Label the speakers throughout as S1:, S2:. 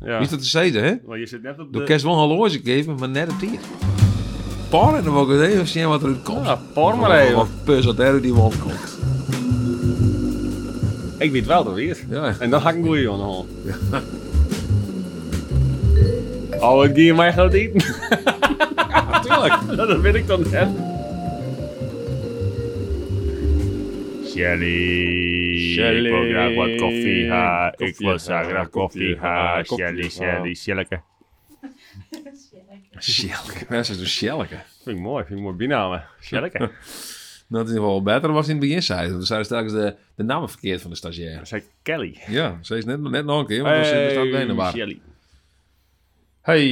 S1: Ja.
S2: Wie is dat te zeggen, hè?
S1: Maar je zit net op
S2: Door
S1: de...
S2: kerst wel een horloge geven, maar net op hier. Paar in de wakker, hè? Of zien wat eruit komt.
S1: Ja, por maar even.
S2: Wat pus wat er die wand komt.
S1: Ik weet wel dat weer.
S2: Ja.
S1: En dan ga ik een goeie aan de hand. Oh, ik die in mij gaat eten.
S2: Natuurlijk.
S1: dat weet ik dan net.
S3: Shelly.
S1: Shelly.
S3: Ik wil graag wat koffie ha. Ik
S1: Koffie,
S3: wil
S1: ha.
S3: zo graag koffie ha.
S1: Koffie, ha.
S3: Shelly, Shelly, Shelleke.
S2: Sjelke. Dat is een Sjelke.
S1: Vind ik mooi, vind ik mooi nou, bijnamen. Sjelleke.
S2: Dat is wel beter was in het begin, zei ze. Want ze zeiden telkens de, de namen verkeerd van de stagiair.
S1: Dat zei Kelly.
S2: Ja, ze is net, net nog een keer, want dan zit er benen waar.
S1: Shelly.
S2: Hey.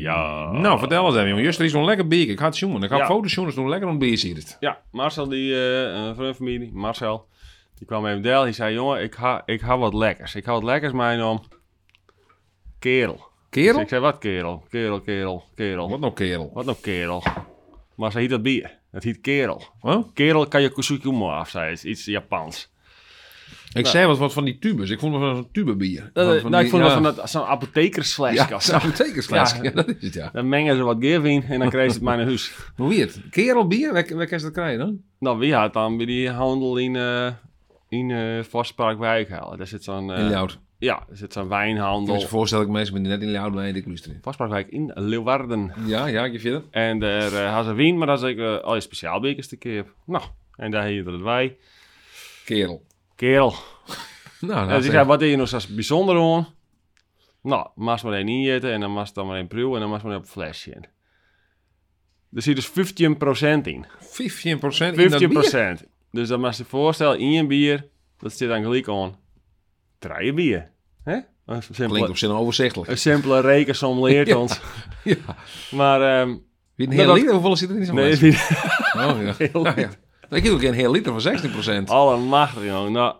S3: Ja.
S2: Nou, vertel eens even, jongen. Juster is zo'n lekker bier. Ik ga het zoenen. Ik ga
S1: Ja.
S2: foto's zoenen, zo'n lekker een bier ziet het.
S1: Ja, Marcel, die eh, een vriend van mij, die- Marcel, die kwam even deel. Die zei, jongen, ik ha, ik ha wat lekkers. Ik ha wat lekkers, mijn naam. Kerel. Dus
S2: Kerel?
S1: ik zei, wat kerel? Kerel, kerel, kerel.
S2: Wat nou kerel?
S1: Wat nou kerel? Maar ze heet dat bier. Het heet kerel.
S2: Huh?
S1: Kerel kan je kusukumo af, zei het. Iets Japans.
S2: Ik zei wat, wat van die tubes. Ik vond het van een tubebier.
S1: Dat,
S2: Van-
S1: eh,
S2: van
S1: nou,
S2: die-
S1: ik vond
S2: ja.
S1: dat van dat- zo'n apothekersflesje.
S2: Ja,
S1: of
S2: zo'n
S1: zo.
S2: apothekersfles.
S1: Ja.
S2: Ja, dat is het, ja.
S1: Dan mengen ze wat gif in en dan krijg je het maar naar huis.
S2: Hoe weird. Kerel bier? Waar, waar kan je dat krijgen dan?
S1: Nou, wie had dan bij die handel in, eh in eh Vastpark Wijkhalen? Daar zit zo'n... eh,
S2: in Loud.
S1: ja, er zit zo'n
S2: Ik kan me
S1: wijnhandel.
S2: voorstellen dat ik mensen die net in Loud bij dik luisteren.
S1: Vastparkwijk in Leeuwarden.
S2: Ja, ja, ik je verder.
S1: En daar eh had ze wien, maar dat is ik eh, al je speciaalbekers te keer. Nou, en daar heette het wij.
S2: Kerel.
S1: Kerel.
S2: Nou,
S1: En
S2: dat
S1: ze
S2: is
S1: zei, wat is je nog zo bijzonder aan? Nou, maas maar één injeten en dan maas dan maar één pruw en dan maas maar één op een flesje in. Er zit dus 15% in.
S2: 15% in dat bier.
S1: 15%. Dus dan maas je voorstellen, in je bier, dat zit dan gelijk aan. Drie bier. hè? Een
S2: Klinkt
S1: simpele,
S2: op zin overzichtelijk.
S1: een simpele rekensom leert ons.
S2: Ja.
S1: Maar, ehm,
S2: Wie
S1: Nou,
S2: een heel
S1: dat-
S2: liter? Hoeveel zit er in zo'n
S1: nee,
S2: fles?
S1: niet.
S2: Oh, ja.
S1: Heel
S2: Ja, ja.
S1: liter. Ah.
S2: Ik heb ook een heel liter van 16%.
S1: Allemachtig, jongen. Nou,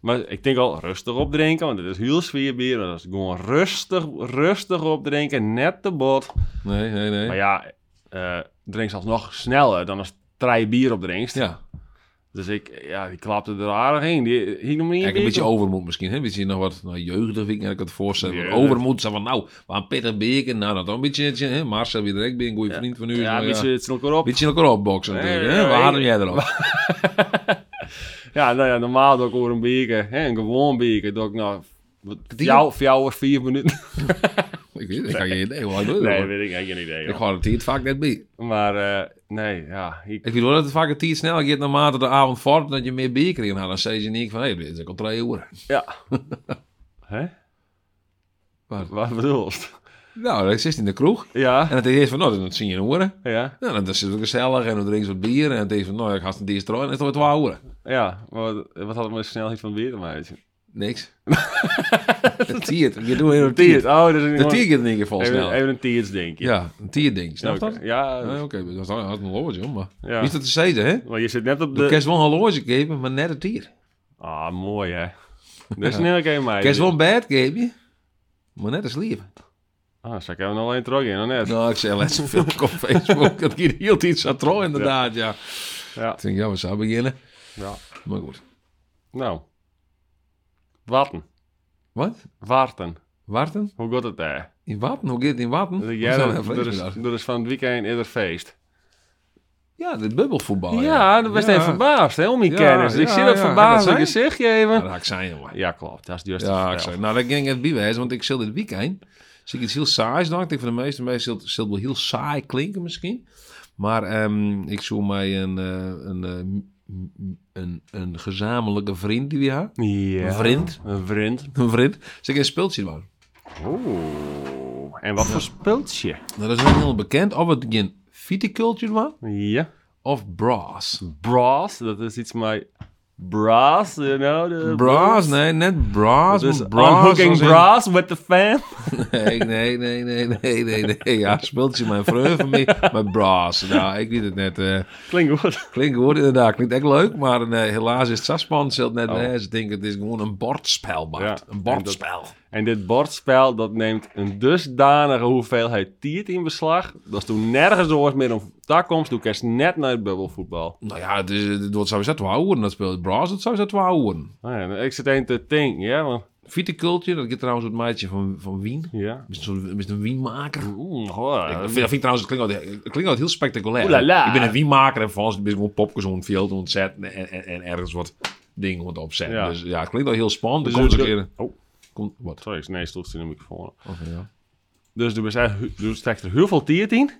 S1: maar ik denk al rustig opdrinken, want het is heel sfeerbier. Dat is gewoon rustig, rustig opdrinken, net te bot.
S2: Nee, nee, nee.
S1: Maar ja, eh drink zelfs nog sneller dan als drie bier opdrinkt.
S2: Ja,
S1: Dus ik, ja, die klapte er aardig in. Die hier nog
S2: kijk,
S1: niet
S2: een beetje overmoed misschien. Hè? Weet je nog wat nou, jeugdig, vind ik eigenlijk het voorstellen. Want
S1: Jeugdig.
S2: Overmoed, zo van nou, maar een pittig beken. Nou, dat dan een beetje, hè? Marcel, wie direct ben, een goede vriend van u.
S1: Ja,
S2: nou,
S1: een beetje het snel elkaar op.
S2: beetje in elkaar opboksen
S1: Nee,
S2: natuurlijk.
S1: nee,
S2: hè? Waar
S1: nee.
S2: hadden jij erop?
S1: Ja, nou ja, normaal doe ik over een beker, hè, een gewoon beker, doe ik nou... wat- Voor jou, voor jou was vier minuten.
S2: ik weet het, ik heb geen idee. Wat ik doe
S1: Nee, weet ik, ik heb geen idee.
S2: ik
S1: joh.
S2: ga het hier het vaak net bij.
S1: Maar eh, nee, ja. Ik,
S2: Ik weet wel dat het vaak het hier sneller gaat naarmate de avond valt dat je meer beker in had. Dan zei je niet van, hé, hey, dit is al twee uur.
S1: Ja. Hè?
S2: Wat?
S1: Wat bedoel je?
S2: Nou, dat zit in de kroeg.
S1: Ja,
S2: En het is van, nou, dat zie je horen.
S1: ja,
S2: Nou, dan is het ook gezellig en dan drinken ze wat bier. En het is van, nou, ik ga het deze trooien en het is alweer 12 uur.
S1: ja. Maar wat, wat had het met de snelheid van weer te maken?
S2: Niks. een tiert. Je doet heel een
S1: Tiert.
S2: tiert.
S1: Oh, dat is een
S2: De tiert gaat in één keer vol
S1: Even,
S2: snel.
S1: even een tiert, denk je.
S2: Ja, een tiert ding. Snap je
S1: Oké.
S2: dat?
S1: Ja,
S2: Nee, Oké, dat is dat is een horloge, joh, maar...
S1: Ja.
S2: Wie is dat te zeggen, hè?
S1: maar je zit net op
S2: Je
S1: de...
S2: kan wel een horloge geven, maar net een tier.
S1: Ah, mooi hè. Dat is een game,
S2: Je kan
S1: meid.
S2: wel een bed geven, maar net een sleep.
S1: Ah, zou ik hem nog één terug in, of net?
S2: Nou, ik zei laatst een filmpje op Facebook. Dat hier heel iets aan trouw, inderdaad, ja.
S1: Ja.
S2: Ik denk, ja, we zouden beginnen.
S1: ja.
S2: Maar goed.
S1: Nou. Warten.
S2: Wat?
S1: Warten.
S2: Warten?
S1: Hoe gaat het daar?
S2: In Watten? Hoe gaat het in Watten?
S1: Ja,
S2: Zo,
S1: er,
S2: even
S1: er is,
S2: inderdaad.
S1: er is van het weekend is er feest.
S2: Oh, Ja, dit bubbelvoetbal.
S1: ja, dan ben je
S2: Ja.
S1: even verbaasd, hè, om die
S2: Ja,
S1: kennis. Ik
S2: ja,
S1: zie dat
S2: ja.
S1: verbaasd
S2: En dat
S1: gezichtje even.
S2: Ja, dat ik zijn, jongen.
S1: Ja, klopt. Dat is dus juist
S2: Ja, ik
S1: te
S2: zei. Nou, dat ging ik het bijwijzen, want ik zil dit weekend. Zie ik iets heel saais, dacht ik. Van de meeste mensen zult- zult wel heel saai klinken misschien. Maar ehm, ik zoek mij een, eh, een, eh, m- m- een, een gezamenlijke vriend die we hebben.
S1: Ja.
S2: Een vriend.
S1: Een vriend.
S2: Een vriend. Zeg ik een speeltje doen.
S1: Oeh. En wat voor speeltje?
S2: Nou, dat is wel heel bekend. Of het geen viticulture was,
S1: Ja.
S2: of brass.
S1: Brass, dat is iets met brass, you know. de-
S2: Brass? Nee, net brass.
S1: Dus
S2: maar brass
S1: unhooking
S2: als in-
S1: brass with the fam.
S2: Nee, nee, nee, nee, nee, nee, nee. Ja, speeltje mijn vreugde van mij. Maar brass. Nou, ik weet het net. eh,
S1: Klinkt goed.
S2: Klinkt goed, inderdaad. Klinkt echt leuk, maar nee, helaas is het Saspan zult net hè. Ze denken het is gewoon een bordspel, Bart.
S1: Ja,
S2: een bordspel.
S1: En dit bordspel, dat neemt een dusdanige hoeveelheid tiert in beslag. Dat is toen nergens oors meer om daar komt. Toen kerst net naar het bubbelvoetbal.
S2: Nou ja,
S1: Ah,
S2: het, is, het wordt sowieso 12 uur dat speelt. Brass, het sowieso 12 uur.
S1: Nou ja, ik zit één te ting, ja. Want
S2: Viticulture, dat gaat trouwens het maatje van, van Wien.
S1: Ja.
S2: Is een, is een wienmaker.
S1: Oeh,
S2: Ik-
S1: hoor.
S2: Dat vind, dat vind Eh, ik trouwens, het klinkt altijd, het klinkt altijd heel spectaculair.
S1: Oeh la la.
S2: Ik ben een wienmaker en volgens ben ik gewoon popjes om het veld ontzetten en, en, en ergens wat dingen wat opzetten.
S1: Ja.
S2: Dus ja, het klinkt al heel spannend. Dus
S1: Dus
S2: komt er
S1: het-
S2: een keer...
S1: Oh.
S2: Komt, wat?
S1: Sorry, ik- nee, stond in de microfoon.
S2: Oké, ja.
S1: Dus er, zijn, er steekt er heel veel tiert in.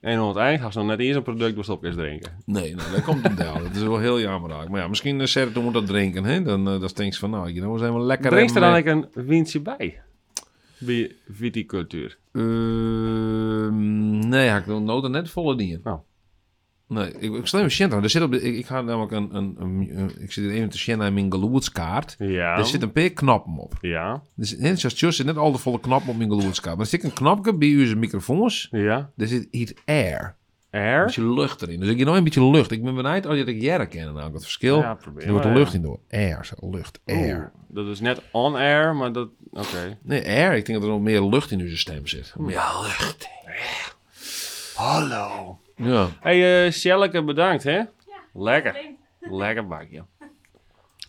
S1: En aan het eind gaan ze nog net eerst een product bestop eens drinken.
S2: Nee, nee, dat komt niet wel. Dat is wel heel jammer eigenlijk. Maar ja, misschien eh, zet het om dat drinken. Hè? Dan, eh dan denk je van, nou, you know, we zijn wel lekker.
S1: Drinkt er
S2: en,
S1: dan
S2: eh,
S1: ook een windje bij? Bij viticultuur.
S2: Ehm, nee, ik wil noten net volle dingen.
S1: Nou.
S2: Nee, ik, ik stel even Shenna. Er zit op de, ik, ik ga namelijk een, een, een- een- Ik zit hier even te Shenna in mijn geloedskaart.
S1: Ja.
S2: Er zit een paar knappen op.
S1: Dus Ja.
S2: Er zit, net Dus, zoals Jos zit net al de volle knappen op mijn geloedskaart. Maar er zit een knapje bij uw microfoons.
S1: Ja.
S2: Er zit iets air. Een
S1: Air.
S2: beetje lucht erin. Dus ik heb nog een beetje lucht. Ik ben benijd als je dat jaren kennen. Namelijk dat verschil.
S1: Ja, probeer
S2: er wordt
S1: maar,
S2: lucht
S1: ja.
S2: in door. Air. Zo. Lucht. Air.
S1: Oeh, Oh, Dat is net on air, maar dat... Oké.
S2: Nee, air. Ik denk dat er nog meer lucht in uw stem zit. Ja, lucht.
S1: Hallo.
S2: Ja.
S1: hey, eh Sjelleke, bedankt, hè? Lekker.
S4: Alleen.
S1: Lekker bakje.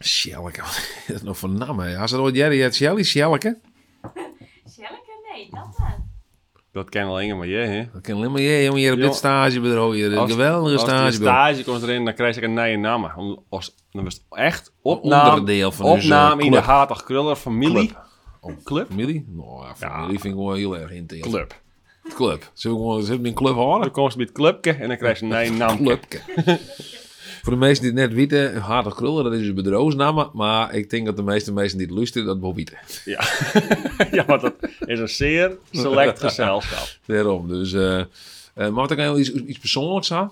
S2: Sjelleke, wat is dat nou voor naam, hè? Als er ooit Jerry het Shelly, Sjelleke.
S4: Sjelleke? Nee, dat maar.
S1: Dat ken alleen maar je, hè?
S2: Dat kan alleen maar jij, jongen, hier op dit
S1: Jongen.
S2: stagebureau. Hier, een
S1: Als-
S2: geweldige
S1: Als die
S2: stagebureau.
S1: stage komt erin, dan krijg ik een nieuwe naam. Om- Als, dan was het echt opname,
S2: onderdeel van onze
S1: opname in de
S2: club.
S1: Hatig Kruller familie.
S2: Club.
S1: Oh, club?
S2: Familie? Nou, ja, familie
S1: Ja.
S2: vind ik wel heel erg inteelt.
S1: Club.
S2: Club. Zullen we gewoon zullen we een club houden?
S1: Dan komt ze bij het clubke en dan krijg je een nieuwe naam.
S2: Clubke. Voor de mensen die het net weten, harde krullen, dat is een bedrijfsnaam. Maar ik denk dat de meeste mensen die het luisteren, dat wel weten.
S1: Ja. ja, want dat is een zeer select gezelschap.
S2: Daarom. Dus, eh eh, maar wat ik heel iets, iets persoonlijks aan.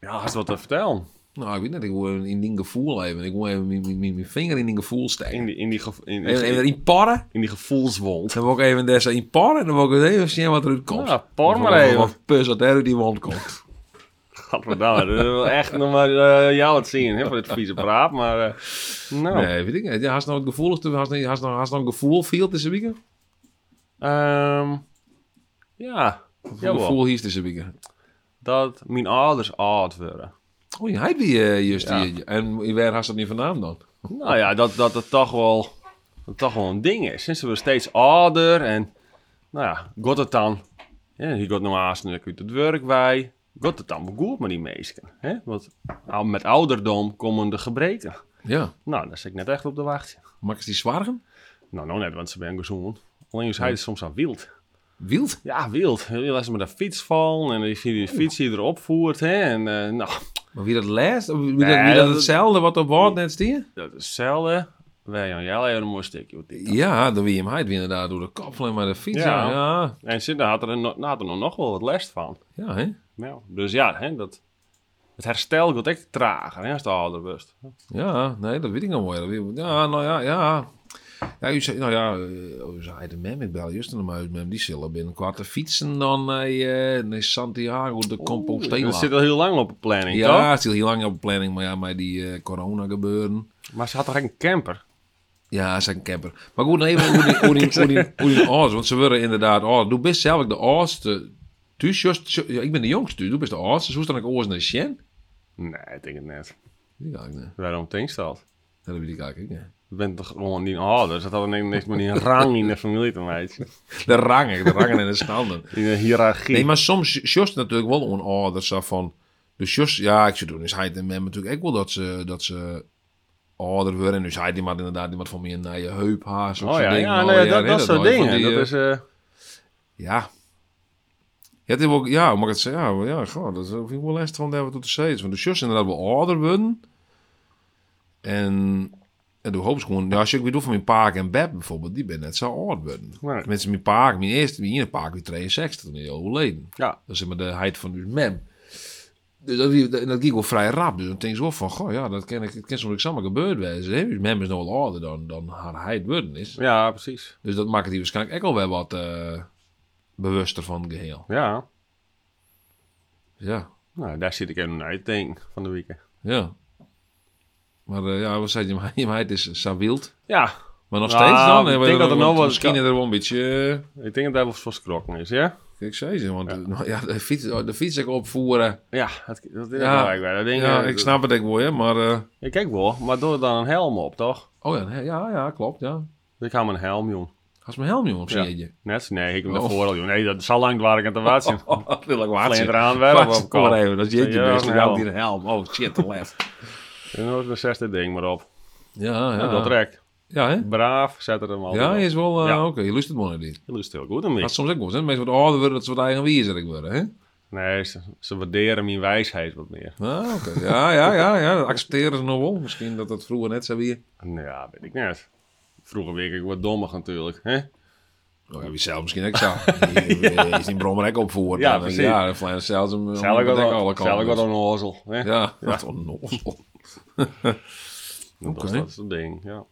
S1: Ja, had wat te vertellen.
S2: Nou, ik weet net, ik wil in die gevoel even. Ik wil even mijn- mijn mijn- mijn vinger in die gevoel steken.
S1: In die, in die, gevo- in,
S2: Even, even
S1: in,
S2: erin parren.
S1: in die gevoelswond.
S2: Dan wil ik even deze in parren. En dan wil ik eens even zien wat eruit komt.
S1: Ja, par maar
S2: Of- of-
S1: even.
S2: Of pus dat er uit die wand komt.
S1: Gadverdamme, dat wil echt nog maar eh, jou het zien, hè, voor dit vieze praat. Maar, eh, nou.
S2: Nee, weet ik niet. Ja, Had je nou het gevoel, of- had je had je nou, had je nou een gevoel viel tussen weekend?
S1: Ehm, ja,
S2: Of een
S1: Jawel.
S2: gevoel hier tussen weekend?
S1: dat mijn ouders oud werden.
S2: Oh, je heet die eh, juist
S1: Ja.
S2: hier. En waar had je dat niet vandaan dan?
S1: Nou ja, dat dat het toch wel, dat toch wel een ding is. Sinds ze worden steeds ouder en, nou ja, god het dan. Ja, je gaat nou haast natuurlijk uit het werk bij. God het dan goed met die meisjes. hè? Want nou, met ouderdom komen de gebreken.
S2: Ja.
S1: Nou, daar zit ik net echt op de wacht.
S2: Maak eens die zwargen?
S1: Nou, nou net, want ze zijn gezond. Alleen is hij soms aan wild.
S2: Wild?
S1: Ja, wild. Heel als ze met een fiets vallen en die zie je die fiets die erop voert. Hè? En eh, nou,
S2: Maar wie dat leest? Of Wie, dat,
S1: Nee,
S2: wie dat
S1: dat-
S2: hetzelfde wat op woord net stier?
S1: dat is hetzelfde. Wij Jan Jelle hebben een mooi stukje. op dit.
S2: Ja, dan wie hem heet wie inderdaad door de kop maar de fiets. Ja.
S1: Ja.
S2: Ja,
S1: En Sinter had er, no- had er nog wel wat last van.
S2: ja hè?
S1: Nou, dus ja, hè, dat, het herstel wordt echt trager hè, als de ouder wordt.
S2: Ja, nee, dat weet ik nog wel. Dat weet ik- Ja, nou ja, ja. Ja, u zei, nou ja, eh, u zei de mem, ik bel juist naar mijn mem, die zullen binnenkort te fietsen dan naar, eh, naar Santiago de Compostela.
S1: Dat zit al heel lang op de planning,
S2: ja, het zit heel lang op de planning, maar ja, met die eh, corona gebeuren.
S1: toch? Maar ze had toch echt een camper?
S2: Ja, ze is een camper. Maar goed, nou even hoe die, hoe die, hoe die, hoe die ouders, want ze worden inderdaad oud. Doe best zelf de oudste. Dus, just, ja, ik ben de jongste, dus doe best de oudste. Zo is dan ik oors naar Shen.
S1: Nee, ik denk het net.
S2: Die ga ik niet.
S1: Waarom denk je dat?
S2: Dat weet ik eigenlijk niet.
S1: Je bent toch gewoon niet ouder? Dus dat had niks niks met die rang in de familie te maken.
S2: De rangen, de rangen en de standen.
S1: In de hiërarchie.
S2: Nee, maar soms Jos natuurlijk wel een ouder zo van. Dus Jos, ja, ik zou doen. Dus hij en mem natuurlijk ook wel dat ze, dat ze ouder worden. Dus hij die maar inderdaad die maar van meer naar je heup haar.
S1: Oh ja,
S2: Nou,
S1: ja, nee, dat, dat soort dingen. Dat is, eh,
S2: Ja. Ja, het is ook, ja, mag ik het zeggen? Ja, maar ja goh, dat vind ik wel lastig van daar wat tot de steeds. Want de zus inderdaad wel ouder worden. En, en toen hoop ik gewoon... Ja, als ik weer doe van mijn paak en Beb bijvoorbeeld, die ben net zo oud worden.
S1: Nee.
S2: Mensen, mijn paak, mijn eerste, mijn ene paak, die 62, toen is hij overleden.
S1: ja,
S2: Dat is maar de heid van uw mem. Dus dat, wie- dat, en dat ging wel vrij rap. Dus dan denk ik zo van, goh, ja, dat kan, ik- dat kan soms ook samen gebeurd wezen. Hè? Uw mem is nog wel ouder dan, dan haar heid worden is.
S1: ja, precies.
S2: Dus dat maakt het hier waarschijnlijk ook al wel wat eh, bewuster van het geheel.
S1: Ja,
S2: Ja,
S1: nou, daar zit ik even naar te denken van de weekend.
S2: ja. Maar eh, ja, wat zei je, maar je meid is zo wild.
S1: Ja,
S2: Maar nog
S1: Nou,
S2: steeds dan?
S1: ik
S2: eh,
S1: denk dat er
S2: want
S1: nog wel-
S2: Misschien is er wel een beetje...
S1: ik denk dat daar wel voor skrokken is, ja?
S2: eh, Ik zei ze, want eh, nou ja, de fiets, de fiets ik opvoeren.
S1: Ja, dat, dat is
S2: Ja.
S1: ja. Dat ding,
S2: ja,
S1: eh,
S2: ik snap het ik wel, hè, maar... eh,
S1: Ik kijk wel, maar doe er dan een helm op, toch?
S2: Oh ja, nee, ja, ja, klopt, ja.
S1: Ik hou mijn helm, jong.
S2: Had ze mijn helm, jongen, op
S1: Ja.
S2: z'n je.
S1: Net? Nee, ik heb hem
S2: Oh.
S1: daarvoor al, jong. Nee, dat zal lang waar ik aan te wachten.
S2: dat wil ik waard
S1: Alleen
S2: zien.
S1: eraan wel
S2: Wacht,
S1: op mijn
S2: kom
S1: kop.
S2: maar even, dat is jeetje
S1: Ja,
S2: best. Ik
S1: een
S2: hou
S1: helm.
S2: hier een helm. Oh, shit, de left.
S1: En dan is mijn zesde ding maar op.
S2: Ja, ja.
S1: Ja, dat rekt.
S2: Ja, hè?
S1: Braaf, zet er hem al.
S2: Ja, hij is wel... eh,
S1: Ja.
S2: Oké, je lust het mooi naar dit.
S1: Je lust heel goed aan mij.
S2: Dat is soms ook wel eens, hè? Mensen wat ouder worden, oh, dat ze wat eigenwijzerig worden, hè?
S1: Nee, ze, ze waarderen mijn wijsheid wat meer.
S2: Ah, oké. Ja, ja, ja, ja. Dat accepteren ze nog wel. Misschien dat dat vroeger net zo weer...
S1: Nou ja, weet ik net. Vroeger werd ik wat dommig natuurlijk. Hè?
S2: Oh, ja, wie zelf misschien ook zo. Die Is die brommer ook opvoerd?
S1: Ja,
S2: Dan,
S1: precies.
S2: Ja, dan oh, vliegen ze zelfs om, om
S1: Zelf ik
S2: de dek alle
S1: wat
S2: kanten.
S1: zelf ik wat onnozel. Hè?
S2: Ja, wat onnozel.
S1: Dat, was-
S2: Oké.
S1: dat is het ding, ja.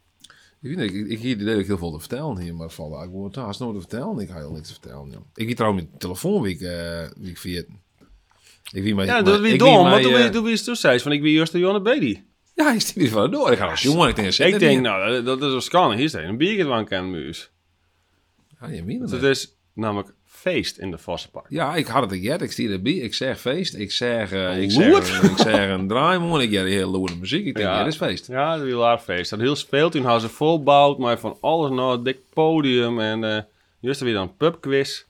S2: Ik weet niet, ik, ik hier die deed ik heel veel te vertellen hier, maar vallen. Ik word haast nooit te vertellen. Ik ga heel niks te vertellen. joh. Ik hier trouwens mijn telefoon wie ik, eh wie ik vier. Ik wie mijn,
S1: Ja,
S2: mijn-
S1: dat is
S2: ik
S1: dom.
S2: mijn,
S1: Want toen
S2: eh,
S1: wie- toen wie is toen zei ze van ik ben juist de Jonne Baby.
S2: Ja, ik stiep hier van door. Ik ga als jongen. Ik denk,
S1: Ah, Ik denk, nou, dat- dat is een scan. Hier staat een biertje aan een muus.
S2: Ja,
S1: nou-
S2: Ah, je meent het.
S1: Dus Het is namelijk feest in de Vossenpark.
S2: Ja, ik had het een jet. Ik stier erbij. Ik zeg feest. Ik zeg, eh ik,
S1: Loerd.
S2: zeg ik zeg een draaimoen. Ik jij heel loerde muziek. Ik denk,
S1: Ja.
S2: ja, dit is feest.
S1: Ja, dat is heel aardig feest. Dat heel speelt toen hadden ze volbouwd, maar van alles naar het dik podium. En eh juist weer dan een pubquiz.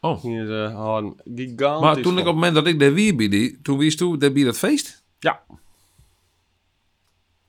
S2: Oh.
S1: Hier ze hadden gigantisch.
S2: Maar toen
S1: van-
S2: ik op het moment dat ik daar weer bij die, toen wist toen dat bij dat feest.
S1: Ja,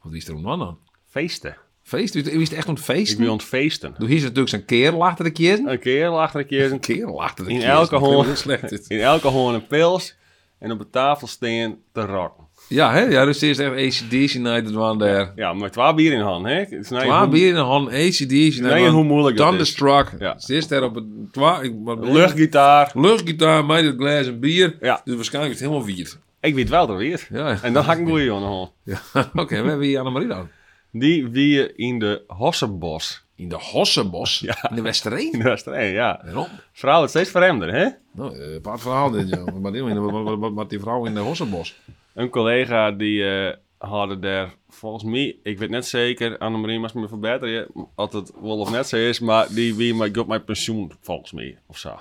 S2: Wat wist er om dan dan?
S1: feesten.
S2: Feest? Wist wist echt om het
S1: Ik
S2: feest?
S1: wil feesten.
S2: Toen hier is natuurlijk zo'n kerel achter de kiezen.
S1: Een kerel achter een keer.
S2: Een kerel achter de
S1: In
S2: kiezen.
S1: elke
S2: Ik vind
S1: hoorn.
S2: het heel slecht. dit.
S1: In elke hoorn een pils. En op de tafel staan te rocken.
S2: Ja, hè? Ja, dus eerst echt ACDC night. Dat waren daar.
S1: Ja, met twee bier in de hand, hè? Het is nou
S2: Twa
S1: hoe-
S2: bier in de hand, ACDC night.
S1: Nee, hoe moeilijk dat is.
S2: Thunderstruck.
S1: Ja.
S2: Ze is daar op een... Twa, ik, maar-
S1: Luchtgitaar.
S2: Luchtgitaar, mij dat glas en bier.
S1: Ja.
S2: Dus waarschijnlijk is het helemaal wierd.
S1: Ik weet wel dat weer.
S2: Ja.
S1: En dan hak ik een goeie aan de hand.
S2: Ja, oké, we hebben hier Annemarie dan.
S1: Die wie in de Hossenbos.
S2: In de Hossenbos, in de Westereen.
S1: In de Westeree, ja.
S2: Waarom?
S1: Vrouw, het steeds vreemder, hè?
S2: Nou, eh, een paar verhaal dit, joh. Maar die- wat- wat- wat- Wat die vrouw in de Hossenbos.
S1: Een collega die eh, hadden daar volgens mij, ik weet net zeker, Annemarie mag me verbeteren, als het wel of net zo is, maar die wie maar got mijn pensioen volgens mij of zo.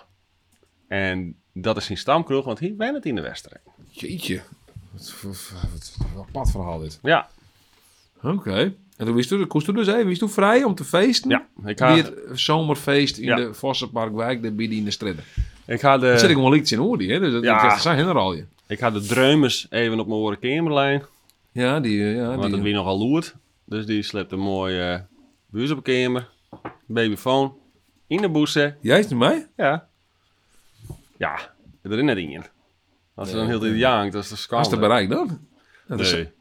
S1: En dat is geen stamkroeg, want hier ben het in de Westerling.
S2: Jeetje. Wat, wat, wat, wat een pad verhaal dit.
S1: Ja,
S2: Oké. En toen wist u, koest u dus even, wist u vrij om te feesten?
S1: ja. Ik ga,
S2: Weer zomerfeest in
S1: Ja.
S2: de Vossenparkwijk, daar bieden in de stredden.
S1: ik ga
S2: Dat zit ik
S1: de,
S2: wel iets in oordie, hè? Dus dat,
S1: Ja.
S2: dat, dat zijn er al je.
S1: ik ga de dreumers even op mijn oren Kimberlijn,
S2: Ja, die... eh, Ja,
S1: want
S2: die
S1: het wie nogal loert. Dus die slept een mooie eh buis op de kamer, babyfoon, in de boezem.
S2: Jij is het mij?
S1: Ja. Ja, erin net in. Als ze dan heel de jankt, dat is de
S2: Als dat
S1: schande.
S2: bereikt dan. Dat is-
S1: Nee.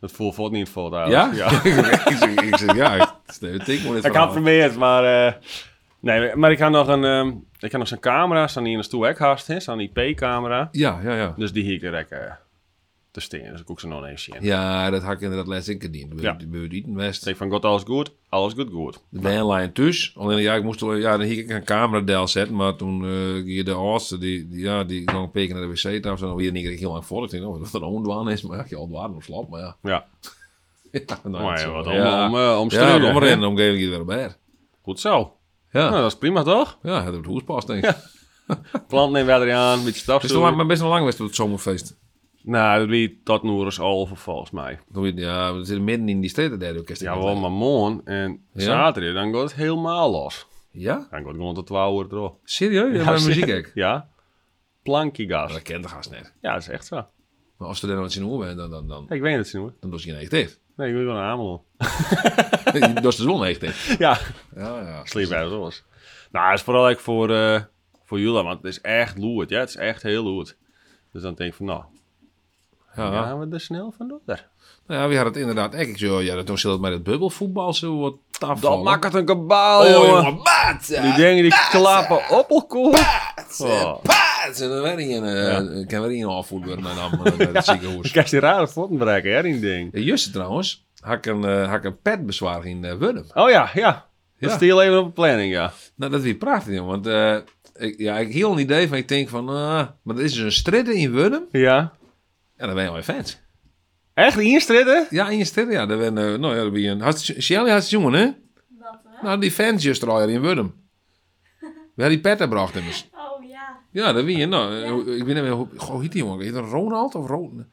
S1: Dat voelt voort niet voor daar.
S2: Ja?
S1: dus- ja.
S2: ik zeg, ik zeg, ja, het is ik moet
S1: ik had het
S2: dit verhaal.
S1: geprobeerd, maar... eh, nee, maar ik had nog een... ehm, ik had nog zo'n camera, staan hier in de stoel hekhaast, hè. Zo'n IP-camera.
S2: Ja, ja, ja.
S1: Dus die hier kan ik eh, te steken. Dus ik ook ze nog eens zien.
S2: Ja, dat had ik inderdaad laatst ik gedaan.
S1: Ja.
S2: Ja. Bij het West.
S1: Ik van, god, alles goed? Alles goed, goed.
S2: De bandlijn thuis. Alleen ja, ik moest wel- ja, dan hier ik een cameradel zetten. Maar toen eh hier de oudste, die, die, ja, die ging een peken naar de wc tafel. En dan weer niet ik heel lang voor. Ik dacht, oh, dat er ondwaan is. Maar ja, je ondwaan of slap. Maar ja.
S1: Ja.
S2: ja nou,
S1: Maar
S2: het
S1: ja,
S2: is-
S1: wat om, om, eh, om
S2: ja,
S1: struinen,
S2: om
S1: hè?
S2: erin. omgeving hier weer op her.
S1: Goed zo.
S2: Ja,
S1: Nou,
S2: ja.
S1: dat is prima, toch?
S2: ja het hoes past denk ik.
S1: Plant neemt verder aan, een beetje
S2: Het is nog lang,
S1: stafstoelen.
S2: maar best nog lang geweest op het zomerfeest.
S1: Nou, dat wie tot nu is al volgens mij.
S2: Toen we- Ja, we zitten midden in die steden daar. ook kerst-
S1: Ja, wel, maar morgen en
S2: Ja?
S1: zaterdag, dan gaat het helemaal los.
S2: Ja?
S1: Dan gaat het gewoon tot 12 uur erop.
S2: Serieus? Ja, maar muziek ook.
S1: Ja.
S2: Maar
S1: Plankiegas.
S2: dat kent de gast net.
S1: Ja, dat is echt zo.
S2: Maar als we daar nou iets in hoor bent, dan, dan, dan,
S1: Ja, ik weet het niet hoor.
S2: dan doe je een echt dicht.
S1: Nee, ik moet wel naar Ameland.
S2: dat is de zon echt dicht.
S1: ja,
S2: Ja, ja.
S1: sleep uit alles. Nou, het is vooral eigenlijk voor, eh, voor jullie, want het is echt loerd. Ja, het is echt heel loerd. Dus dan denk ik van, nou,
S2: Ja.
S1: gaan we er snel van door.
S2: Nou ja, we hadden het inderdaad echt. Ik zei, oh, ja, toen zit het met het bubbelvoetbal zo wat afvallen.
S1: Dat maakt het een kabaal,
S2: Oh,
S1: jongen.
S2: jongen, maat!
S1: Die dingen die klappen op elkaar. Oh.
S2: Paat! En dan werd hij een, eh, kan weer een afvoer worden naar dan, eh, naar het
S1: Ik
S2: ziekenhuis.
S1: krijg die rare voeten breken, hè, die ding.
S2: Eh, Juste trouwens, had ik een, eh, had ik een petbezwaar in eh Wurm.
S1: Oh ja, ja. Dat
S2: Ja.
S1: stil even op de planning, ja.
S2: Nou, dat weer prachtig, jongen. Want eh, ik, ja, ik hield een idee van, ik denk van, ah, maar er is dus een stridder in Wurm.
S1: Ja.
S2: En dan ben je wel fans.
S1: Echt instritten?
S2: Ja, in je stad, ja. Daar ben, eh, nou ja, daar ben je een... hartstikke- Shelly had het jongen, hè?
S4: Wat, hè?
S2: Nou, die fans just er al in Wurm. We hadden die petten bracht immers.
S4: Oh ja.
S2: Ja, dat weet je. Nou, eh, ik weet niet meer hoe... Goh, heet die jongen? Heet dat Ronald of Ron?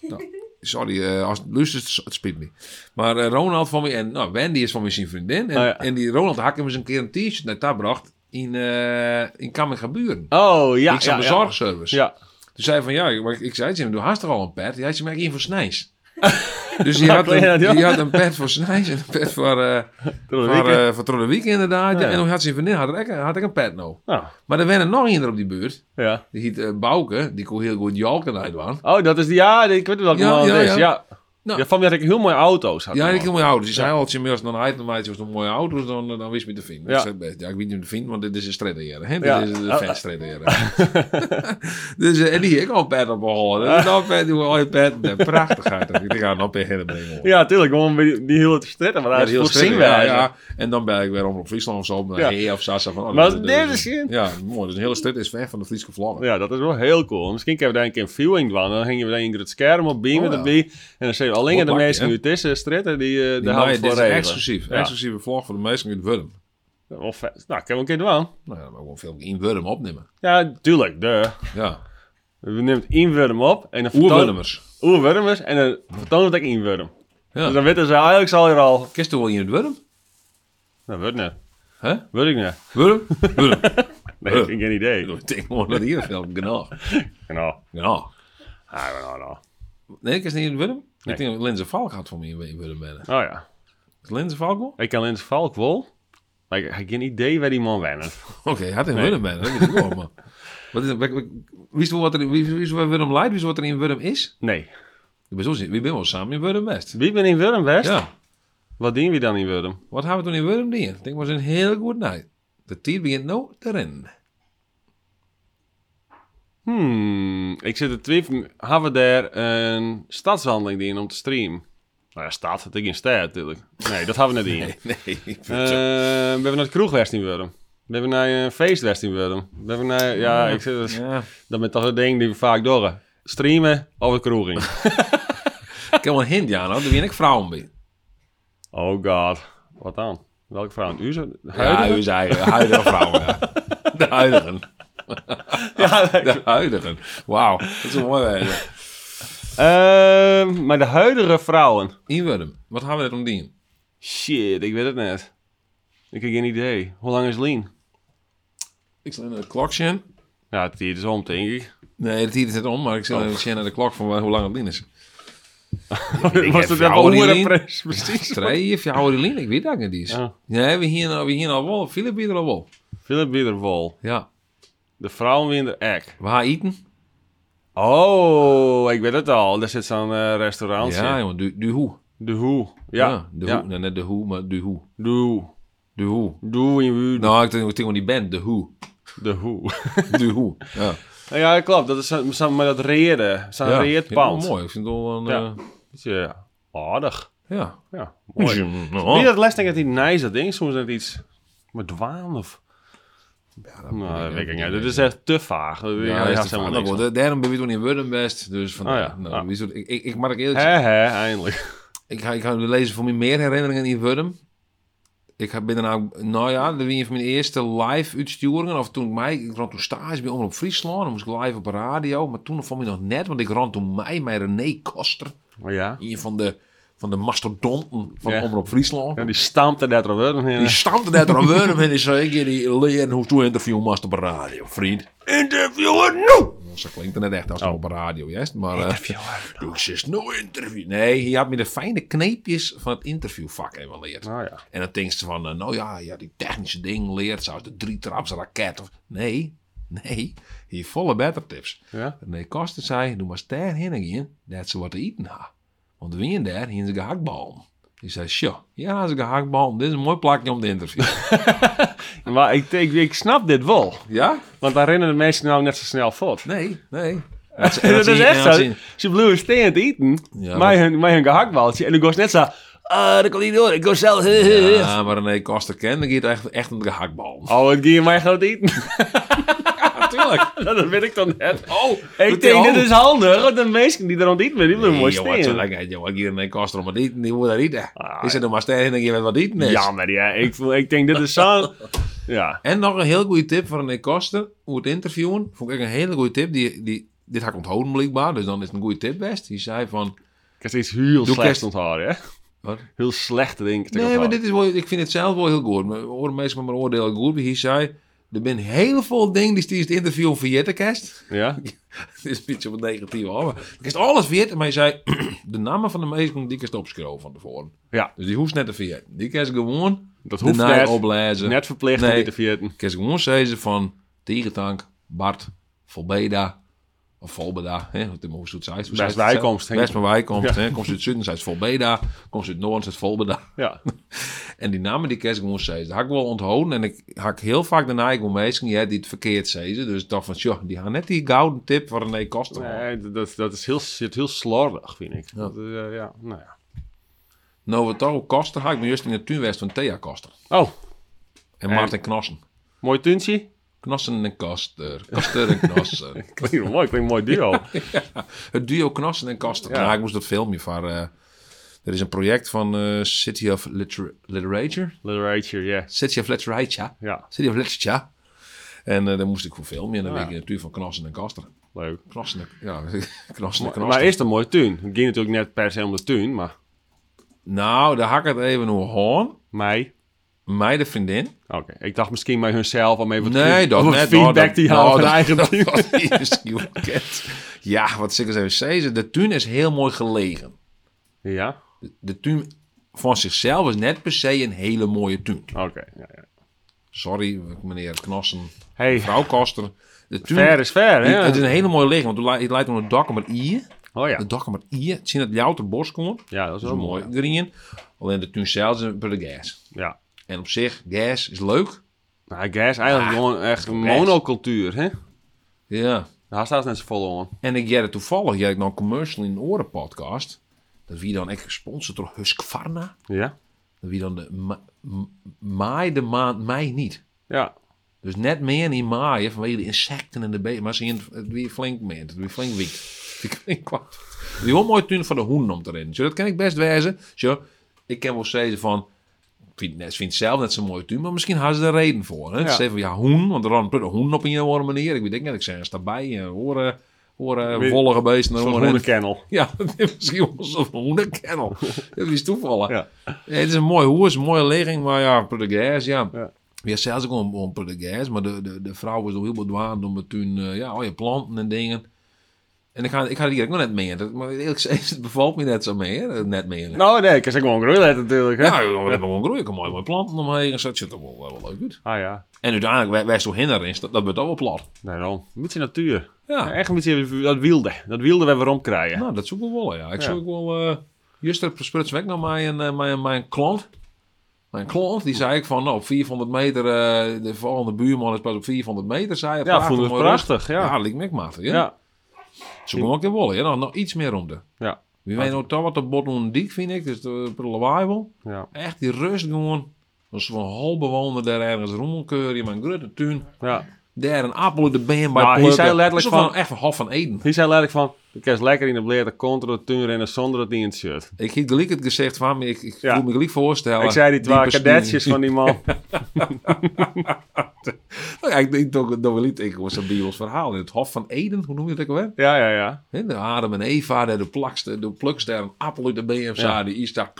S2: Nou, sorry, eh, als het luistert, s- het spijt me. Maar eh, Ronald van mij en nou, Wendy is van mij zijn vriendin. En,
S1: Oh, ja.
S2: en die Ronald had ik hem eens een keer een t-shirt naar daar bracht in, eh in Kammingaburen.
S1: Oh, ja.
S2: ik zat
S1: ja,
S2: de
S1: ja.
S2: zorgservice.
S1: Ja.
S2: Toen zei hij van, ja, maar ik, ik zei het hem, doe haast toch al een pet? Hij zei, maar ik één voor Snijs. dus die,
S1: Nou,
S2: had
S1: kon je
S2: een,
S1: dat, joh?
S2: die had een pet voor Snijs en een pet voor, eh
S1: Tot
S2: voor,
S1: weekend.
S2: eh, voor Trollewiek inderdaad. ja.
S1: Ja.
S2: En toen had zijn vriendin, had ik, had ik een pet nou.
S1: Nou,
S2: Maar er werden nog iemand op die buurt.
S1: ja.
S2: Die heet eh, Bouke, die kon heel goed Jalken uitwaan.
S1: Oh, dat is die... Ja, ik weet welke
S2: Ja,
S1: man
S2: ja,
S1: het is.
S2: ja.
S1: Ja.
S2: Nou.
S1: Ja, van mij had ik heel mooie auto's. Had
S2: Ja,
S1: die
S2: ik
S1: man.
S2: heb mooie ouders. Die zei altijd, als je meer dan uit maatje was een mooie auto's, dan, eh, dan wist je me te vinden.
S1: Ja.
S2: Ik zei, best, ja, ik weet niet om te vinden, want dit is een stredder. Hè? Dit
S1: Ja.
S2: is een
S1: Oh.
S2: vetstredder. dus, eh, en die heb ik al een pet op gehouden. Dat is nou een pet, hoe al je pet. Ja, Prachtig uit. Ik denk, ja, nou ben je helemaal brengen. hoor.
S1: Ja, tuurlijk. Gewoon die, die heel te stretten. Maar
S2: Ja,
S1: dat is heel
S2: streng,
S1: zin
S2: ja,
S1: wel.
S2: ja. En dan ben ik weer om op Friesland of zo.
S1: Ja.
S2: Ja. Hey, of Sasa van. oh,
S1: Maar
S2: dat-
S1: dit
S2: dat-
S1: is geen-
S2: Ja, mooi. Dus een hele stad is weg van de Friese vlag.
S1: Ja, dat is wel heel cool. Misschien kunnen we daar een keer een viewing doen. Dan gingen we daar in het scherm op beamen
S2: Oh, ja.
S1: erbij. En dan zeiden we alleen
S2: Wat
S1: de
S2: maakt
S1: mensen
S2: die,
S1: nu tussen stritten die, eh
S2: Die
S1: daar houden
S2: maaien,
S1: we
S2: dit
S1: voor
S2: is
S1: regelen.
S2: exclusief.
S1: Ja.
S2: Exclusieve vlag voor de meesten in Wurm.
S1: Wel vet. Nou, kunnen we een keer doen.
S2: Nou ja, maar gewoon film in Wurm opnemen.
S1: Ja, tuurlijk. Duh.
S2: Ja.
S1: We nemen inwurm op. en dan vertonen-
S2: Oerwurmers.
S1: Oerwurmers. En dan vertonen we het ook inwurm.
S2: Ja.
S1: Dus dan weten ze eigenlijk al hier al.
S2: Kist toch wel in het Wurm?
S1: Nou, wordt net.
S2: Hè?
S1: Wordt ik net.
S2: Wurm? Wurm.
S1: Nee,
S2: Huh.
S1: ik heb geen idee.
S2: Ik denk gewoon dat hier film. Genau.
S1: Nou,
S2: Genau.
S1: ah, nou, nou.
S2: Nee, ik is niet in het Wurm.
S1: Nee.
S2: Ik denk dat Linse Valk had voor mij in Wurm benen.
S1: Oh ja.
S2: Is Linse Valk wel?
S1: Ik kan in het valk wel. Maar ik ik heb geen idee waar die man wennen.
S2: Oké, hij had in
S1: Nee.
S2: Wurm benen. Dat weet ik wel, maar... Wat is, wat- wat- wist je wat er, wist, wist je waar Wurm leidt? Wist je wat er in Wurm is?
S1: Nee.
S2: Ik ben zo zin- We zijn wel samen in Wurm best.
S1: Wie ben in Wurm West?
S2: Ja.
S1: Wat doen we dan in Wurm?
S2: Wat hebben we toen in Wurm gedaan? Ik denk, was een heel goed night. De tijd begint nou te rennen.
S1: Hmm, ik zit te twijfelen. Hebben we daar een stadswandeling in om te streamen? Nou ja, stad. Het is geen stad natuurlijk. Nee, dat hebben we net in.
S2: Nee. ik
S1: Eh, we hebben naar de kroeg West in Wurm. We hebben naar een feest West in Wurm. We hebben naar... Ja,
S2: Ah.
S1: ik zit...
S2: Ja.
S1: Dat ben toch het ding die we vaak doen. Streamen of de kroeg in.
S2: Ik heb wel een hint, Jano. Er ben ik vrouwen bij.
S1: Oh god. Wat dan? Welke vrouw? Een Uzo?
S2: Ja,
S1: Huidige?
S2: u zei eh, huidige vrouwen. ja. De huidigen. De huidigen. Wauw, dat is een mooi wijze.
S1: Ehm, maar de huidige vrouwen.
S2: Inwurm, wat gaan we net om dien?
S1: Shit, ik weet het net. Ik heb geen idee. Hoe lang is Lien?
S2: Ik zal naar de klok zien.
S1: Ja, het is om, denk ik.
S2: Nee, dat hier is het om, maar ik
S1: Oh.
S2: zal even zien naar de klok van waar- hoe lang het dien is.
S1: Was het
S2: heb
S1: net
S2: vrouwen
S1: een
S2: in
S1: oren-
S2: Lien.
S1: pres- Precies.
S2: Twee, of jouw Aurelien, ik weet dat niet eens.
S1: Ja.
S2: Nee, we hier, nou- we hier al wel, Philip hier al wel.
S1: Philip Biederwol.
S2: Ja,
S1: De vrouwenwinder Egg.
S2: we gaan eten.
S1: Oh, ik weet het al. Daar zit zo'n eh, restaurantje.
S2: Ja, jongen, du, du hoe.
S1: De hoe. Ja.
S2: de
S1: ja.
S2: hoe. Nee, net de hoe, maar du hoe.
S1: De hoe.
S2: De hoe.
S1: Doe in Wuur.
S2: Nou, ik denk ik denk wel die band, de hoe.
S1: De hoe.
S2: De hoe. Ja.
S1: Nou ja, klopt. Dat is zo- samen met dat reëren. Zo'n
S2: Ja, ik vind het wel
S1: reëerpand.
S2: mooi, ik vind het wel een...
S1: Ja.
S2: eh,
S1: Beetje aardig.
S2: ja.
S1: Ja, mooi.
S2: Nou,
S1: Wie dat les denkt dat die nice dat ding soms net iets met dwaan of. nou, dat weet ik niet. Dit is echt te vaag. Dat weet ik-
S2: Ja,
S1: hij
S2: dat
S1: had
S2: is helemaal
S1: helemaal niks.
S2: goed.
S1: van.
S2: Da- Daarom ben ik toen in Wurden best. Dus van,
S1: Oh ja.
S2: nou,
S1: Ah.
S2: wie zo- ik, ik, ik mag ook eerlijk
S1: Hè, hè, eindelijk.
S2: ik ga, ik ga de lezer voor me meer herinneringen in Wurm. Ik heb- ben daarna, nou ja, dat was een van mijn eerste live uitsturingen. Of toen ik mij, ik ran toen stage bij Omroep Friesland. Dan moest ik live op de radio. Maar toen vond ik nog net, want ik ran toen mij met René Koster.
S1: Maar Oh ja.
S2: Een van de, van de mastodonten van
S1: Ja.
S2: Omroep Friesland.
S1: ja, die stampte daar toch wel
S2: Die
S1: in.
S2: stampte net aan Wurm en die zei, ik ga die leren hoe toe interview master op de radio, vriend. Interviewen nu! Zo klinkt het net echt als
S1: Oh.
S2: het op de radio, juist. Maar, interviewen Ik zit nou interview. Nee, je had me de fijne kneepjes van het interviewvak even geleerd.
S1: Nou ja.
S2: En dan denk je van, eh, nou ja, ja, die technische dingen leert, zoals de drie raket. Of... Nee, nee, hier volle better tips.
S1: Ja.
S2: Nee, Koster zei, doe maar sterren heen gaan, dat ze wat te eten hebben. Want wie in daar, hier is een gehaktbalm. Die zei, "Sjo, ja, dat is een gehaktbalm. Dit is een mooi plakje om te interviewen.
S1: Maar ik, ik, ik snap dit wel.
S2: ja?
S1: Want daar rennen de mensen nou net zo snel voort.
S2: Nee, nee.
S1: dat is echt zo. Ze bleven steen te eten.
S2: Ja,
S1: maar hun, maar hun gehaktbaltje. En dan was net zo. Ah, dat kan niet door. Ik was zelf.
S2: Ja, maar René Koster kende gaat echt, echt een gehaktbalm.
S1: Oh, het ging mij groot eten.
S2: Natuurlijk.
S1: dat weet ik dan net.
S2: Oh,
S1: Ik denk, dit is handig, want de mensen die er aan het eten zijn, die blijven mooi
S2: Jongen, zo
S1: staan.
S2: lekker. Jongen, hier René Koster om wat eten. Die moet daar eten.
S1: Ah,
S2: Is er nog maar sterren heen gaan wat eten is.
S1: Jammer, ja. Ik, voel, ik denk, dit is zo... Ja.
S2: En nog een heel goede tip van René Koster. Hoe het interviewen. Vond ik een hele goede tip. Die, die, dit had ik onthouden blijkbaar. Dus dan is het een goede tip best. Die zei van...
S1: heb iets heel
S2: Doe
S1: slecht
S2: kerst-
S1: onthouden, hè?
S2: Wat?
S1: Heel slecht drinken te
S2: Nee, maar
S1: onthouden.
S2: dit is wel, ik vind het zelf wel heel goed. Maar horen mensen met mijn oordeel goed. Wie hier zei, er zijn heel veel dingen die het interview van Jette kerst.
S1: Ja?
S2: Het is een beetje op het negatieve hoor. Maar ik kerst alles vergeten. Maar je zei, de namen van de meesten, die kerst opschroven van tevoren.
S1: Ja.
S2: Dus die hoeft net te vergeten. Die kerst gewoon
S1: Dat
S2: de
S1: hoeft
S2: naam
S1: net.
S2: oplezen.
S1: Net verplicht om
S2: Nee.
S1: die te vieren.
S2: Kerst gewoon zeggen van, Tierentank, Bart, Volbeda. Of Volbeda, hè? Hoe het- hoe ze het zei. Hoe zei het?
S1: bijkomst, hè?
S2: Best mijn bijkomst, hè? Komt ze uit het zuiden, zei het Volbeda. Komt ze uit het noorden, zei het Volbeda.
S1: Ja.
S2: En die namen die kerst moest zeggen, dat had ik wel onthouden. En ik had heel vaak daarna ik mensen ja, die het verkeerd zeiden. Dus ik dacht van, joh, die gaan net die gouden tip van René Koster.
S1: Nee, dat- dat, dat is heel, zit heel slordig, vind ik.
S2: Ja.
S1: Dat, eh, ja. Nou ja.
S2: Nou, wat toch Koster had ik me juist in de tuinwest van Thea Koster.
S1: Oh,
S2: En
S1: Hey.
S2: Maarten Knossen.
S1: mooi tuntje.
S2: Knossen en Koster. Koster en Knossen.
S1: Klinkt wel mooi, klinkt een mooi duo.
S2: Het duo Knossen en Koster.
S1: Ja.
S2: Ja. ik moest dat filmpje van... eh, er is een project van eh, City of Liter- Literature.
S1: Literature, ja.
S2: City of Literature.
S1: Ja,
S2: City of Literature. En eh, daar moest ik voor filmen. En dan
S1: Ja.
S2: weet ik natuurlijk van Knossen en Koster.
S1: leuk.
S2: Knossen en... Ja, Knossen en
S1: Maar,
S2: Knoster.
S1: maar eerst een mooie tuin. Het ging natuurlijk net per se om de tuin, maar
S2: Nou, daar hak ik het even hoe hoorn.
S1: mij.
S2: Mij de vriendin.
S1: Oké, ik dacht misschien bij hunzelf al mee wat
S2: Nee, dat
S1: wat
S2: net.
S1: feedback
S2: hoor, dat-
S1: die halen
S2: nou,
S1: van
S2: dat-
S1: eigen
S2: dat-
S1: tuin.
S2: dat is misschien wel kent. Ja, wat zeker even zeggen. De tuin is heel mooi gelegen.
S1: Ja,
S2: De tuin van zichzelf is net per se een hele mooie tuin.
S1: oké. Ja, ja.
S2: Sorry, meneer Knossen,
S1: Hey,
S2: mevrouw Koster. De tuin,
S1: ver is ver, hè?
S2: het is een hele mooie ligging, want het lei- het leidt onder het dak met i.
S1: Oh ja,
S2: Het dak met i. Het zien dat louter bos komt.
S1: ja dat is
S2: Dat
S1: wel
S2: is
S1: mooi.
S2: mooi. Green. Alleen de tuin zelf is een beetje gas.
S1: Ja.
S2: En op zich, gas is leuk.
S1: Nou, gas eigenlijk
S2: Ah,
S1: gewoon echt een monocultuur, hè?
S2: Ja.
S1: Daar staat het net zo vol aan.
S2: En ik jette toevallig, jij ik nou een commercial in een oren podcast. Dat wie dan echt gesponsord door Husqvarna.
S1: Ja?
S2: Dat wie dan de ma- m- maai de maand mei niet.
S1: Ja.
S2: Dus net meer in maaien vanwege de insecten en de beesten. Maar ze zien het- het weer flink meer. Het weer flink wiek. Het weer kwart. Die wel mooi tuin van de hoen om te rennen. Zo, dat kan ik best wijzen. Zo, ik kan wel zeggen van... Ik vind, het net- ik vind het zelf net zo'n mooie tuin, maar misschien hadden ze er reden voor. Hè?
S1: Ja.
S2: Ze zeggen van, ja, hoen, want er ran een hoen op een of andere manier. Ik weet het net, ik zei, er staat bij, eh, horen, horen,
S1: Weer-
S2: wollige beesten. en
S1: Zo'n
S2: horen-
S1: groene kennel.
S2: ja, misschien was het een hoenderkennel. Dat is toevallig.
S1: Ja.
S2: Ja, het is een mooi hoes, een mooie ligging, maar ja, Portugees, ja.
S1: Ja.
S2: ja. zelfs ook om, om Portugees, maar de, de, de vrouw was nog heel bedwaard om het toen, eh, ja, al je planten en dingen. En ik ga, ik ga die ook nog net meer. Dat, maar eerlijk gezegd, het bevalt me net zo meer. eh, Net meer.
S1: Nou nee, ik zeg gewoon grullet natuurlijk, hè?
S2: Ja, we hebben gewoon groeien, mooi, mooie planten omheen. en zo. Het ziet er wel, wel leuk uit.
S1: Ah ja,
S2: En uiteindelijk, wij, wij zo hinder is, dat, dat wordt ook wel plat.
S1: daarom. Een beetje natuur.
S2: Ja.
S1: Ja, echt een beetje dat wilde. Dat wilde we weer omkrijgen.
S2: Nou, dat zoek ik wel, ja. Ik
S1: Ja.
S2: zoek ook wel... eh Juster spruts weg naar mijn, eh, mijn, mijn klant. Mijn klant, die zei ik van, nou, op 400 meter... eh, de volgende buurman is pas op 400 meter, zei hij.
S1: Ja, vond het
S2: mooi
S1: prachtig,
S2: rust.
S1: ja.
S2: Ja, dat liep me ook matig, ja.
S1: ja.
S2: Zoek hem ook in Wolle, ja. Nou, nog iets meer om de.
S1: Ja.
S2: Wie weet nou toch wat de bot onder de dik, vind ik. Dus de uh, wel.
S1: Ja.
S2: Echt die rust gewoon. Als van halbewoner daar ergens rommelkeur in mijn grote tuin.
S1: ja.
S2: Daar een appel in de been bij
S1: Nou, hij
S2: plukken.
S1: zei letterlijk
S2: Alsof we
S1: van-
S2: nou Echt van half van Eden.
S1: Die zei letterlijk van, ik kan eens lekker in de blerde contra de tuin rennen zonder dat die in het shirt.
S2: Ik heb gelijk het gezegd van, maar ik, ik
S1: Ja.
S2: voel me gelijk voorstellen.
S1: ik zei Oh, die twee
S2: persoon-
S1: kadetjes van die man.
S2: Nou ja, ik denk dat dat wel niet. Ik was een Bijbels verhaal in het Hof van Eden, hoe noem je dat ook weer?
S1: Ja, ja, ja.
S2: Hè, De Adam en Eva, daar de plakste, de plukste, daar een appel uit de BMC,
S1: Ja.
S2: die is daar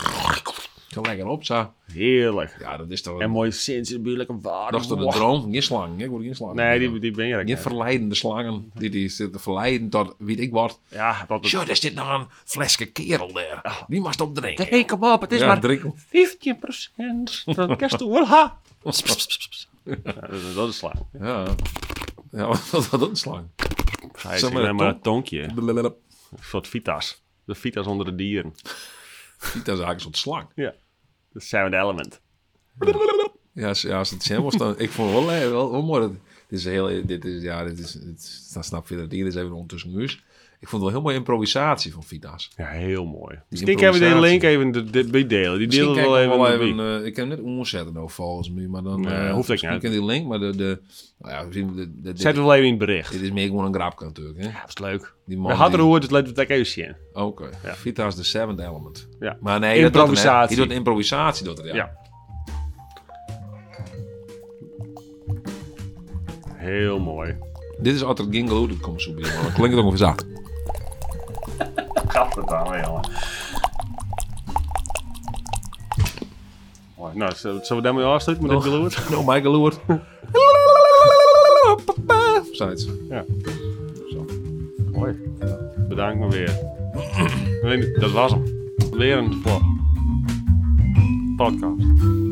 S2: zo lekker op. Zo.
S1: Heerlijk.
S2: Ja, dat is toch
S1: En
S2: een,
S1: mooie sensibiele waarde.
S2: dat is toch een droom? Geen slang, ik word geen slang.
S1: Nee, die, die ben je
S2: Geen
S1: lekker.
S2: verleidende slangen, die, die zitten verleiden tot weet ik wat.
S1: Ja, dat
S2: Zo, daar zit nog een flesje kerel daar. Die mag op drinken.
S1: Drink hem op, het is
S2: Ja,
S1: maar
S2: drink hem.
S1: 15 van kerstoorha. dat, is- dat is slaan.
S2: Ja, ja wat was dat een slang?
S1: Hij
S2: Zeg
S1: zegt
S2: maar
S1: alleen
S2: een
S1: maar een eh, tonkje.
S2: Blablabla.
S1: Een soort vitas. De vitas onder de dieren.
S2: Niet dat is eigenlijk een soort slang.
S1: De Seventh Element.
S2: Ja, als, ja, als het zijn was, dan... Ik vond het wel, le- wel, wel mooi. Dat, dit is heel... Dit is, ja, dit is... Dit, is- dan snap je dat hier is even ondertussen nieuws. Ik vond het wel heel mooie improvisatie van Vita's.
S1: Ja, heel mooi. Misschien kunnen we de
S2: improvisatie.
S1: link even de, de, bij delen. Die delen we
S2: kijken
S1: wel even.
S2: wel
S1: in de
S2: even,
S1: week.
S2: eh, ik heb hem net omzetten nou, volgens mij. Maar dan...
S1: Nee, hoeft
S2: eh,
S1: ook
S2: misschien
S1: niet.
S2: ken die link, maar de... de nou ja, we zien... De, de,
S1: Zet
S2: dit,
S1: het wel even in het bericht.
S2: dit is meer gewoon een grapje natuurlijk, hè.
S1: Ja, dat is leuk.
S2: Die
S1: We
S2: man
S1: hadden
S2: die-
S1: er gehoord, dus laten we het even zien.
S2: Oké. Vita's The Seventh Element.
S1: Ja.
S2: Maar nee, dat doet er net.
S1: Improvisatie.
S2: Die doet improvisatie, doet er, ja.
S1: Ja. Heel mooi.
S2: Dit is altijd Gingle Hood, dat komt zo bij, maar dat klinkt ook ongeveer zacht.
S1: Gaat het aan, jongen. Nou, nou, zullen we- zullen we daarmee afsluiten met dit geluid?
S2: Nou, Michael Loert. Zoiets.
S1: Mooi. Bedankt maar weer. Ik weet niet, dat was hem. Weer een vlog. Podcast.